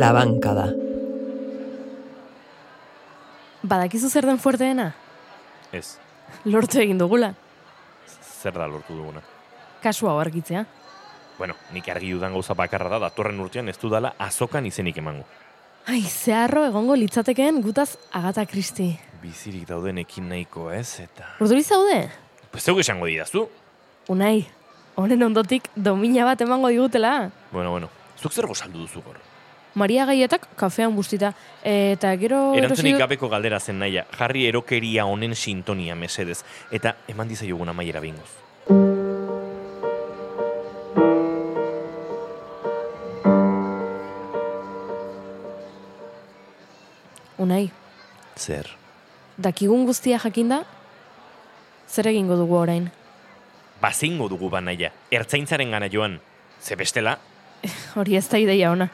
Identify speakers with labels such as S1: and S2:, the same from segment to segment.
S1: labanka da.
S2: Badakizu zer den fuerteena?
S3: Ez,
S2: Lortu egin dugula.
S3: zer da lortu duguna.
S2: Kasu hau argitzea.
S3: Bueno, nik argi dudan gauza bakarra da, datorren urtean ez dudala azokan izenik emango.
S2: Ai, zeharro egongo litzatekeen gutaz Agata Kristi.
S3: Bizirik dauden ekin nahiko ez, eta...
S2: Urduri zaude?
S3: Pues zeuk esango didazu.
S2: Unai, honen ondotik domina bat emango digutela.
S3: Bueno, bueno, zuk zer gozaldu duzu gor.
S2: Maria Gaietak kafean bustita. Eta gero...
S3: Erantzunik
S2: erosi-
S3: gabeko galdera zen naia, jarri erokeria honen sintonia mesedez, eta eman dizaiogun amaiera bingoz.
S2: Unai,
S3: Zer?
S2: dakigun guztia jakinda, zer egingo dugu orain?
S3: Bazingo dugu banaia, ertzaintzaren gana joan. Ze bestela,
S2: Hori ez da ideia ona.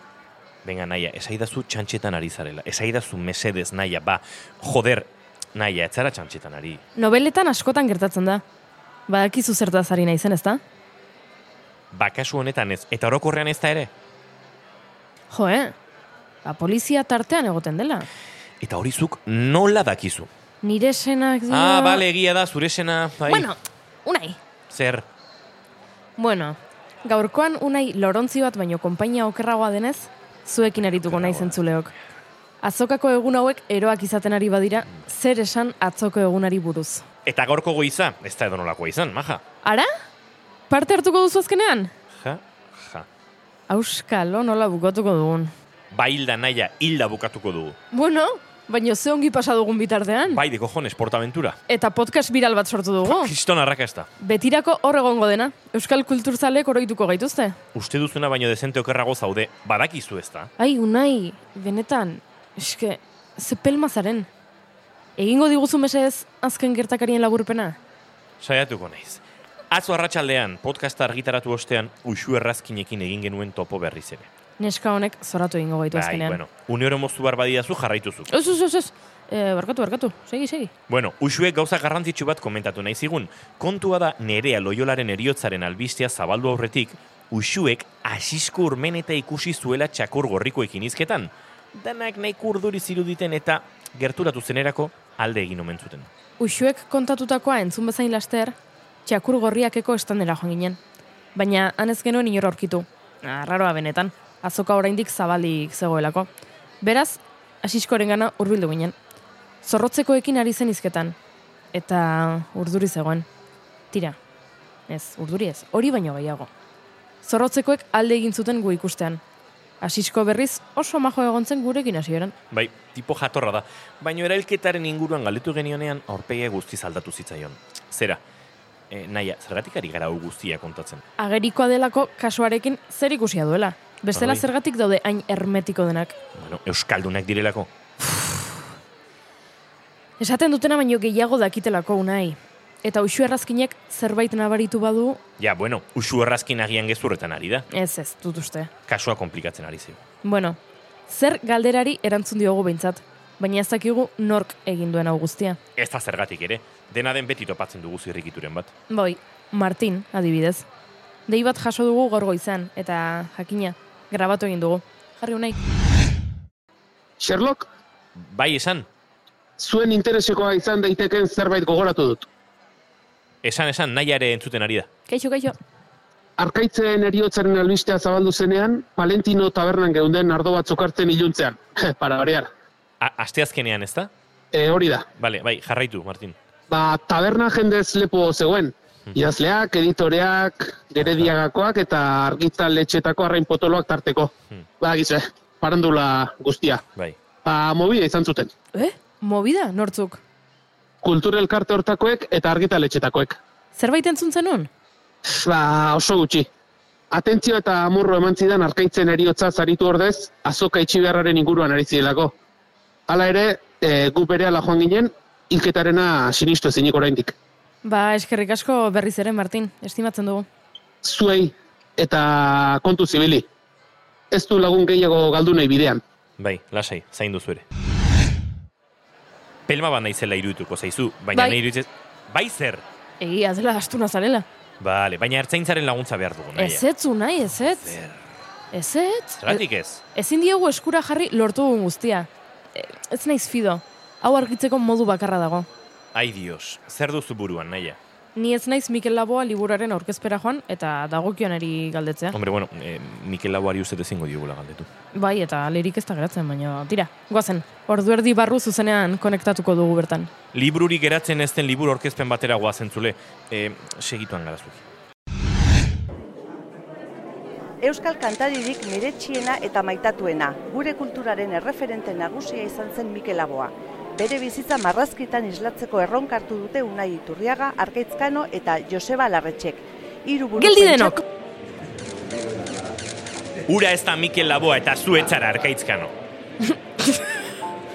S3: Benga, naia, esaidazu txantxetan ari zarela. Esaidazu mesedez, naia, ba, joder, naia, etzara txantxetan ari.
S2: Nobeletan askotan gertatzen da. Badakizu zertaz ari naizen, ezta?
S3: Ba, kasu honetan ez, eta orokorrean ez da ere.
S2: Jo, eh? Ba, polizia tartean egoten dela.
S3: Eta hori zuk nola dakizu.
S2: Nire senak dira...
S3: Ah, bale, egia da, zure sena, bai,
S2: Bueno, unai.
S3: zer,
S2: Bueno, gaurkoan unai lorontzi bat baino konpainia okerragoa denez, zuekin arituko naiz
S3: Okerragoa.
S2: entzuleok. Azokako egun hauek eroak izaten ari badira, zer esan atzoko egunari buruz.
S3: eta gorko goiza, ez da edonolakoa izan, maja.
S2: Ara? Parte hartuko duzu azkenean?
S3: Ja, ja.
S2: Auskalo nola bukotuko dugun.
S3: Ba, hilda, naia, hilda bukatuko dugu.
S2: Bueno, baino ze ongi pasa dugun bitartean.
S3: Bai, de cojones, portaventura.
S2: Eta podcast viral bat sortu dugu.
S3: Kriston arrakasta.
S2: Betirako hor egongo dena. Euskal kulturzalek oroituko gaituzte.
S3: Uste duzuna baino dezente okerrago zaude, badakizu ez da.
S2: Ai, unai, benetan, eske, ze pelma zaren. Egingo diguzu mesedez azken gertakarien laburpena?
S3: Saiatuko naiz. Atzo arratsaldean podcasta argitaratu ostean uxu errazkinekin egin genuen topo berriz ere.
S2: Neska honek zoratu egingo gaitu
S3: Bai,
S2: azkenean.
S3: bueno, une oro moztu behar badidazu jarraituzu.
S2: Ez, ez, ez, ez. E, barkatu, barkatu. Segi, segi.
S3: Bueno, usuek gauza garrantzitsu bat komentatu nahi zigun. Kontua da nerea loiolaren eriotzaren albistea zabaldu aurretik, usuek asisko urmen eta ikusi zuela txakur gorrikoekin izketan. Danak nahi kurduri ziruditen eta gerturatu zenerako alde egin omen zuten.
S2: Uxuek kontatutakoa entzun bezain laster, txakur gorriakeko estandera joan ginen. Baina, anez genuen inor aurkitu. Arraroa benetan, azoka oraindik zabalik zegoelako. Beraz, asiskoren gana urbildu ginen. Zorrotzekoekin ari zen izketan. Eta urduri zegoen. Tira. Ez, urduri ez, hori baino gehiago. Zorrotzekoek alde egin zuten gu ikustean. Asisko berriz oso majo egon zen gurekin hasieran.
S3: Bai, tipo jatorra da. Baina erailketaren inguruan galdetu genionean aurpegia guztiz aldatu zitzaion. Zera, e, naia, zergatik ari gara hau guztia kontatzen.
S2: agerikoa delako kasuarekin zer ikusia duela. Bestela
S3: Bai.
S2: zergatik daude hain hermetiko denak.
S3: Bueno, Euskaldunak direlako.
S2: Esaten dutena baino gehiago dakitelako unai. Eta usu errazkinek zerbait nabaritu badu,
S3: Ja, bueno, usu errazkin agian gezurretan ari da.
S2: ez ez, dut uste.
S3: Kasua komplikatzen ari zeu.
S2: Bueno, zer galderari erantzun diogu behintzat, baina ez dakigu nork egin duen hau guztia.
S3: Ez da zergatik ere, dena den beti topatzen dugu zirrikituren bat.
S2: Boi, Martin, adibidez. Dei bat jaso dugu gaur goizean, eta jakina, grabatu egin dugu. Jarri unai.
S4: Sherlock,
S3: Bai esan,
S4: zuen interesekoa izan daiteken zerbait gogoratu dut.
S3: esan esan, naia ere entzuten ari da.
S2: Kaixo, kaixo.
S4: Arkaitzen eriotzaren albistea zabaldu zenean, Palentino tabernan geunden ardo batzuk hartzen iluntzean. Para barear.
S3: A asteazkenean ez da?
S4: E, hori da.
S3: Bale, bai, jarraitu, Martin.
S4: Ba, taberna jendez lepo zegoen. Idazleak, editoreak, gerediagakoak eta argitaletxetako arrain potoloak tarteko.
S3: Hmm.
S4: Ba, gizue, parandula guztia.
S3: Bai.
S4: Ba, mobile izan zuten.
S2: Eh? Mobida, nortzuk.
S4: Kulturelkarte hortakoek eta argitaletxetakoek.
S2: Zerbait entzun zenun?
S4: Ba, oso gutxi. Atentzio eta amurro eman zidan arkaitzen eriotza zaritu ordez, azoka itxi beharraren inguruan ari zirelako. Hala ere, e, gu berehala joan ginen, hilketarena sinistu ezinik oraindik.
S2: Ba, eskerrik asko berriz ere, Martin. Estimatzen dugu.
S4: Zuei eta kontu zibili. Ez du lagun gehiago galdu nahi bidean.
S3: Bai, lasai, zaindu zure. Pelma bat naizela irudituko zaizu, baina
S2: Bai.
S3: bai. nahi iruditzen... Bai zer!
S2: Egia dela astuna zarela.
S3: Bale, baina ertzaintzaren laguntza behar dugu, naia.
S2: Ez ez, nahi, ez ez. Ez ez?
S3: Zeratik ez.
S2: E, Ezin diegu eskura jarri lortu dugun guztia. E, Ez naiz fido. Hau argitzeko modu bakarra dago.
S3: Ai dios, zer duzu buruan, naia?
S2: Ni ez naiz Mikel Laboa liburaren aurkezpera joan eta dagokioneri galdetzea.
S3: Hombre, bueno, e, Mikel Laboari uste ezingo diogula galdetu.
S2: Bai, eta lerik ez da geratzen, baina tira, guazen. Ordu erdi barru zuzenean konektatuko dugu bertan.
S3: Libruri geratzen ez den liburu aurkezpen batera guazen zule. E, segituan garazuk.
S1: Euskal kantaririk miretsiena eta maitatuena, gure kulturaren erreferente nagusia izan zen Mikel Aboa. Bere bizitza marrazkitan islatzeko erronkartu dute Unai Iturriaga, Arkaitzkano eta Joseba Larretxek. Hiru buru
S2: Geldi
S1: pentsa-
S2: denok!
S3: Ura ez da Mikel Laboa eta zu etzara arkaitzkano.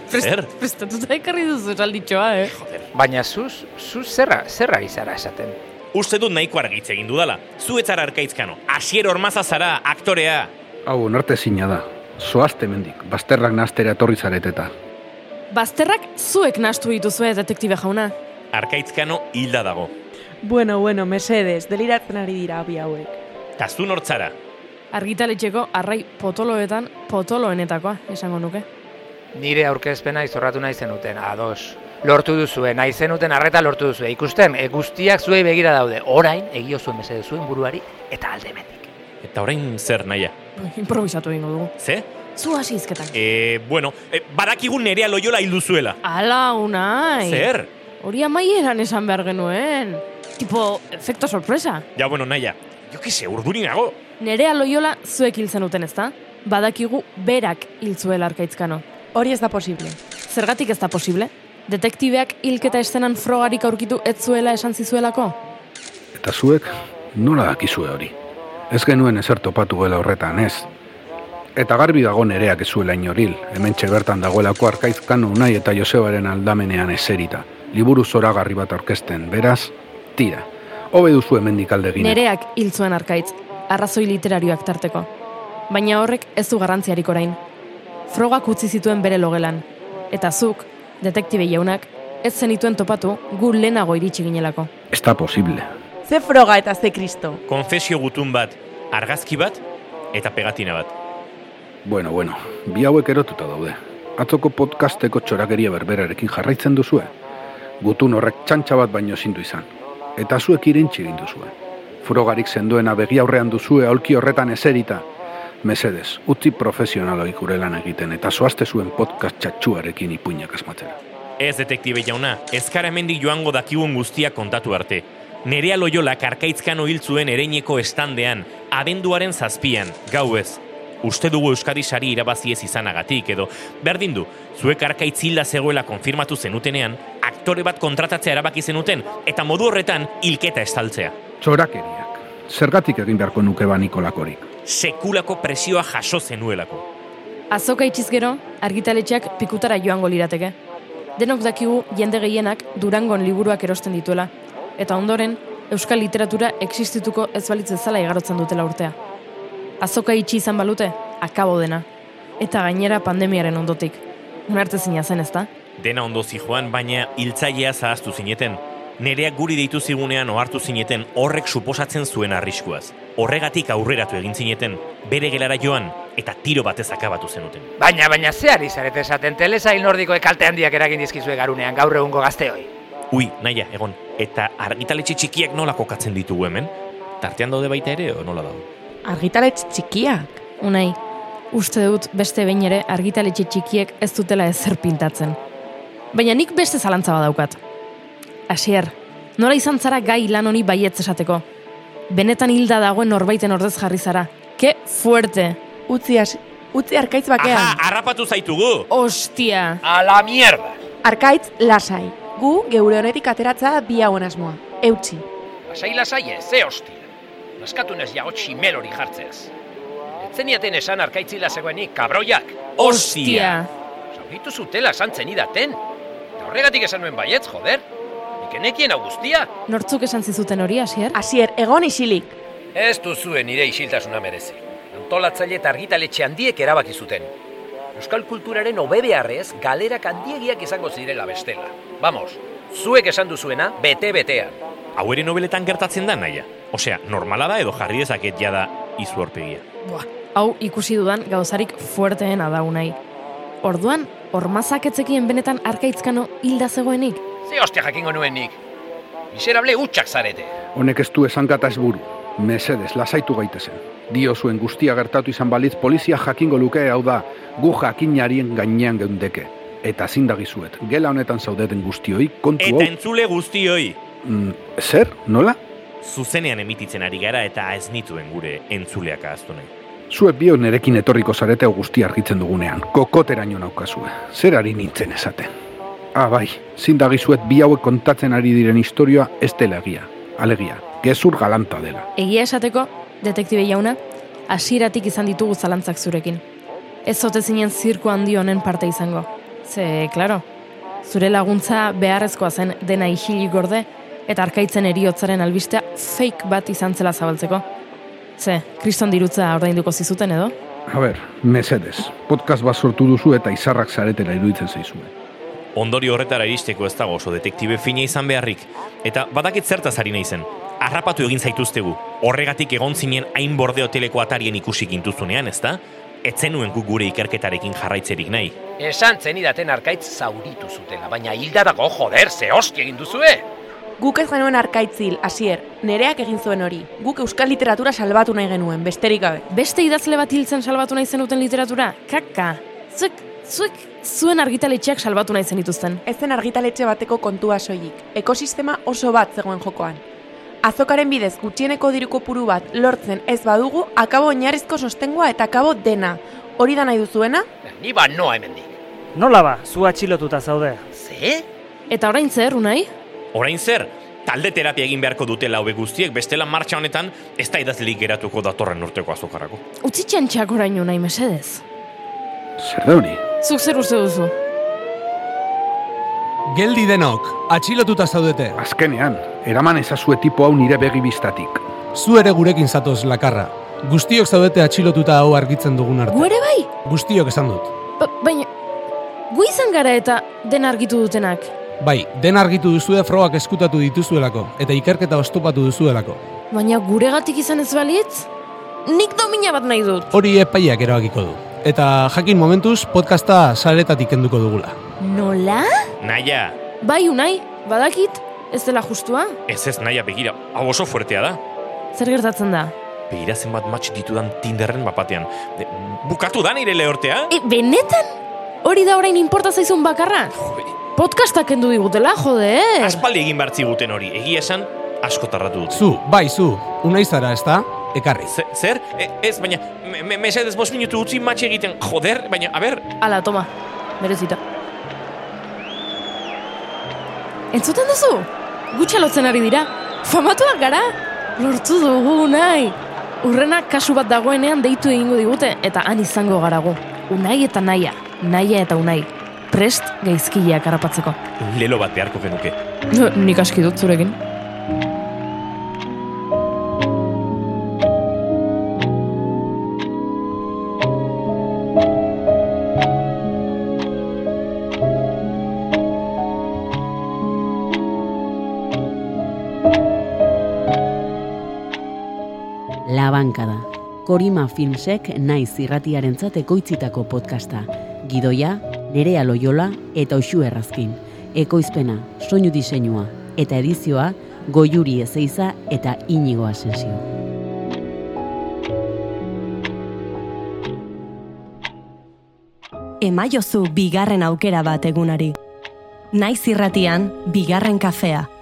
S3: Zer?
S2: Prestatuta ekarri duzu esalditxoa, eh?
S5: Baina zuz, zuz zerra, zerra izara esaten.
S3: Uste dut nahiko argitze egin dudala. Zu etzara arkaitzkano. Asier ormaza zara, aktorea.
S6: Hau onarte zina da. Zoazte mendik, bazterrak nahaztera etorri zareteta.
S2: Bazterrak zuek nastu dituzue detektibe jauna.
S3: Arkaitzkano hilda dago.
S7: Bueno, bueno, mesedes, deliratzen ari dira abi hauek.
S3: Ta zu nortzara.
S2: Argitaletxeko arrai potoloetan potoloenetakoa, esango nuke.
S5: Nire aurkezpena izorratu nahi zenuten, ados. Lortu duzue, nahi zenuten arreta lortu duzue. Ikusten, e, guztiak zuei begira daude. Orain, egio zuen mesede zuen buruari eta alde hemendik.
S3: Eta orain zer naia.
S2: Bai, Improvisatu egingo dugu.
S3: Ze?
S2: Zu hasi izketan.
S3: E, bueno, e, badakigun nerea loiola hildu zuela.
S2: Ala, unai!
S3: Zer?
S2: Hori amaieran esan behar genuen. Tipo, efekto sorpresa.
S3: Ja, bueno, naia. Jo que se, urduri nago.
S2: Nerea loiola zuek hil zenuten ezta? Badakigu berak hil zuela arkaitzkano.
S7: Hori ez da posible.
S2: Zergatik ez da posible? Detektibeak hilketa estenan frogarik aurkitu ez zuela esan zizuelako?
S6: Eta zuek, nola dakizue hori? Ez genuen ezer topatu gela horretan, ez? Eta garbi dago nereak ez zuela inoril, hemen bertan dagoelako arkaizkan unai eta Josebaren aldamenean eserita. Liburu zoragarri bat aurkezten, beraz, tira. Hobe duzu hemendik alde egin.
S2: Nereak hil zuen arkaitz, arrazoi literarioak tarteko. Baina horrek ez du garrantziarik orain. Frogak utzi zituen bere logelan. Eta zuk, detektibe jaunak, ez zenituen topatu gu lehenago iritsi ginelako.
S6: Ez da posible.
S7: Ze froga eta ze kristo.
S3: Konfesio gutun bat, argazki bat, eta pegatina bat.
S6: Bueno, bueno, bi hauek erotuta daude. Atzoko podcasteko txorakeria berberarekin jarraitzen duzue. Gutun horrek txantxa bat baino ezin du izan. Eta zuek irentzi egin duzue. Frogarik sendoena begi aurrean duzue aulki horretan eserita. Mesedez, utzi profesionaloi gure lan egiten eta zoazte zuen podcast txatxuarekin ipuinak asmatzera.
S3: Ez detektibe jauna, ezkara hemendik joango dakigun guztia kontatu arte. Nerea loiola karkaitzkan hil zuen ereineko estandean, abenduaren zazpian, gau ez. Uste dugu Euskadi sari irabazi ez izanagatik edo, berdin du, zuek arkaitz hilda zegoela konfirmatu zenutenean, aktore bat kontratatzea erabaki zenuten, eta modu horretan hilketa estaltzea.
S6: Txorakeriak. Zergatik egin beharko nuke ba Nikolakorik.
S3: Sekulako presioa jaso zenuelako.
S2: Azoka itxiz gero, argitaletxeak pikutara joango lirateke. Denok dakigu jende gehienak Durangon liburuak erosten dituela, eta ondoren, euskal literatura existituko ez balitz bezala igarotzen dutela urtea. Azoka itxi izan balute, akabo dena. Eta gainera pandemiaren ondotik. Unartezina zen ezta?
S3: Dena ondo zijoan, baina hiltzailea zahaztu zineten. Nereak guri deitu zigunean ohartu zineten horrek suposatzen zuen arriskuaz. Horregatik aurreratu egin zineten, bere gelara joan eta tiro batez akabatu zenuten.
S5: Baina, baina ze ari zarete esaten telesail nordikoek e kalte handiak eragin dizkizue garunean gaur egungo gazteoi.
S3: Ui, naia, egon, eta argitaletxe txikiak nola kokatzen ditugu hemen? Tartean daude baita ere, o nola dago?
S7: Argitaletz txikiak.
S2: Unai, uste dut beste behin ere argitaletxe txikiek ez dutela ezer pintatzen. Baina nik beste zalantza badaukat. Asier, nola izan zara gai lan honi baietz esateko? Benetan hilda dagoen norbaiten ordez jarri zara. Ke fuerte!
S7: Utzi, as, utzi arkaitz bakean.
S3: Aha, harrapatu zaitugu!
S2: Ostia!
S5: A la mierda!
S7: Arkaitz lasai. Gu geure honetik ateratza da bi hauen asmoa. Eutxi.
S5: Lasai lasai ez, ze hostia. Naskatu nez jago tximel hori jartzeaz. Etzeniaten esan arkaitzila zegoenik, kabroiak. Zauritu zutela esan zenidaten. Eta horregatik esan nuen baietz, joder. Nikenekien hau guztia.
S2: Nortzuk esan zizuten hori, Asier?
S7: Asier, egon isilik.
S5: Ez duzue nire isiltasuna merezi. Antolatzaile eta argitaletxe handiek erabaki zuten. Euskal kulturaren hobe beharrez galerak handiegiak izango zirela bestela. Vamos, zuek esan duzuena bete-betean.
S3: Hau ere nobeletan gertatzen da, naia. Osea, normala da edo jarri dezaket jada izu horpegia.
S2: Buah, Hau ikusi dudan gauzarik fuerteen adaunai. Orduan, ormazak etzekien benetan arkaitzkano hilda zegoenik.
S5: Ze hostia jakingo nuen nik. Miserable hutsak zarete.
S6: Honek ez du esan gata ez buru. Mesedez, lasaitu gaitezen. Dio zuen guztia gertatu izan balitz polizia jakingo luke hau da, gu jakinarien gainean geundeke. Eta zindagizuet, gela honetan zaudeten guztioi, kontu
S3: Eta
S6: hau...
S3: entzule guztioi!
S6: Mm, zer? Nola?
S3: Zuzenean emititzen ari gara eta ez nituen gure entzuleak ahaztu nahi.
S6: Zuek bio nerekin etorriko zarete hau guztia argitzen dugunean, kokoteraino naukazue. Zer ari nintzen esaten? Ah, bai, zindagizuet bi hauek kontatzen ari diren historioa ez dela egia. Alegia, gezur galanta dela.
S2: Egia esateko, detektibe jauna, hasieratik izan ditugu zalantzak zurekin. Ez zote zinen zirku handi honen parte izango. Ze, klaro, zure laguntza beharrezkoa zen dena isilik gorde eta arkaitzen eriotzaren albistea fake bat izan zela zabaltzeko. Ze, kriston dirutza ordainduko zizuten edo?
S6: A ber, mesedez, podcast bat sortu duzu eta izarrak zaretela iruditzen zaizue.
S3: Ondori horretara iristeko ez dago oso detektibe fina izan beharrik. Eta badakit zertaz ari naizen. Arrapatu egin zaituztegu. Horregatik egon zinen hain borde hoteleko atarien ikusi gintuzunean, ezta? Etzenuen guk gure ikerketarekin jarraitzerik nahi.
S5: Esan zenidaten arkaitz zauritu zutela, baina hilda dago joder, ze hostia egin duzue!
S7: Guk ez genuen arkaitzil, hasier, nereak egin zuen hori. Guk euskal literatura salbatu nahi genuen, besterik gabe.
S2: Beste idazle bat hiltzen salbatu nahi zenuten literatura? Kaka! Zuek, zuek, zuen argitaletxeak salbatu nahi zenituzten.
S7: Ez zen argitaletxe bateko kontua soilik, ekosistema oso bat zegoen jokoan. Azokaren bidez gutxieneko diru kopuru bat lortzen ez badugu, akabo oinarrizko sostengua eta akabo dena. Hori da nahi duzuena?
S5: Ni ba noa hemendik.
S8: Nola ba, zu atxilotuta zaude.
S5: Ze?
S2: Eta orain zer, unai?
S3: Orain zer, talde terapia egin beharko dutela hobe guztiek, bestela martxa honetan ez da idazlik geratuko datorren urteko azokarako.
S2: Utzi txantxak orain unai, mesedez.
S6: Zer da hori?
S2: Zuk zer uste duzu?
S9: Geldi denok, atxilotuta zaudete.
S6: Azkenean, eraman ezazue tipo hau nire begi bistatik.
S9: Zu ere gurekin zatoz lakarra. Guztiok zaudete atxilotuta hau argitzen dugun arte.
S2: Gu ere bai?
S9: Guztiok esan dut.
S2: Ba, baina, gu izan gara eta den argitu dutenak.
S9: Bai, den argitu duzue frogak eskutatu dituzuelako eta ikerketa ostopatu duzuelako.
S2: Baina guregatik izan ez balitz? Nik domina bat nahi dut.
S9: Hori epaiak erabakiko du. Eta jakin momentuz podcasta saretatik kenduko dugula.
S2: Nola?
S3: Naia,
S2: Bai, unai, badakit, ez dela justua?
S3: ez ez naia begira, hau oso fuertea da.
S2: Zer gertatzen da?
S3: Begira zenbat match ditudan Tinderren bapatean. De, bukatu da nire lehortea?
S2: E, benetan? Hori da orain inporta zaizun bakarra? Podcastak kendu digutela, joder!
S3: Eh. Aspaldi egin behar ziguten hori, egia esan, asko tarratu dut.
S9: Zu, bai, zu, unai zara, ezta? Ekarri.
S3: Ze- Zer? E- ez, baina, me- me- mesedez bost minutu utzi matxe egiten, joder, baina, a ber,
S2: Ala, toma, berezita. Entzuten duzu? Gutxalotzen ari dira. Famatuak gara? Lortu dugu nahi. Urrena kasu bat dagoenean deitu egingo digute eta han izango garago. Unai eta naia, naia eta unai. Prest gaizkileak harrapatzeko.
S3: lelo bat beharko genuke.
S2: Nik aski dut zurekin.
S10: La Bankada. Korima Filmsek naiz irratiarentzat ekoitzitako podcasta. Gidoia, Nerea Loiola eta Oxu Errazkin. Ekoizpena, soinu diseinua eta edizioa Goiuri Ezeiza eta Inigo Asensio.
S11: emaiozu bigarren aukera bat egunari. Naiz irratian, bigarren kafea.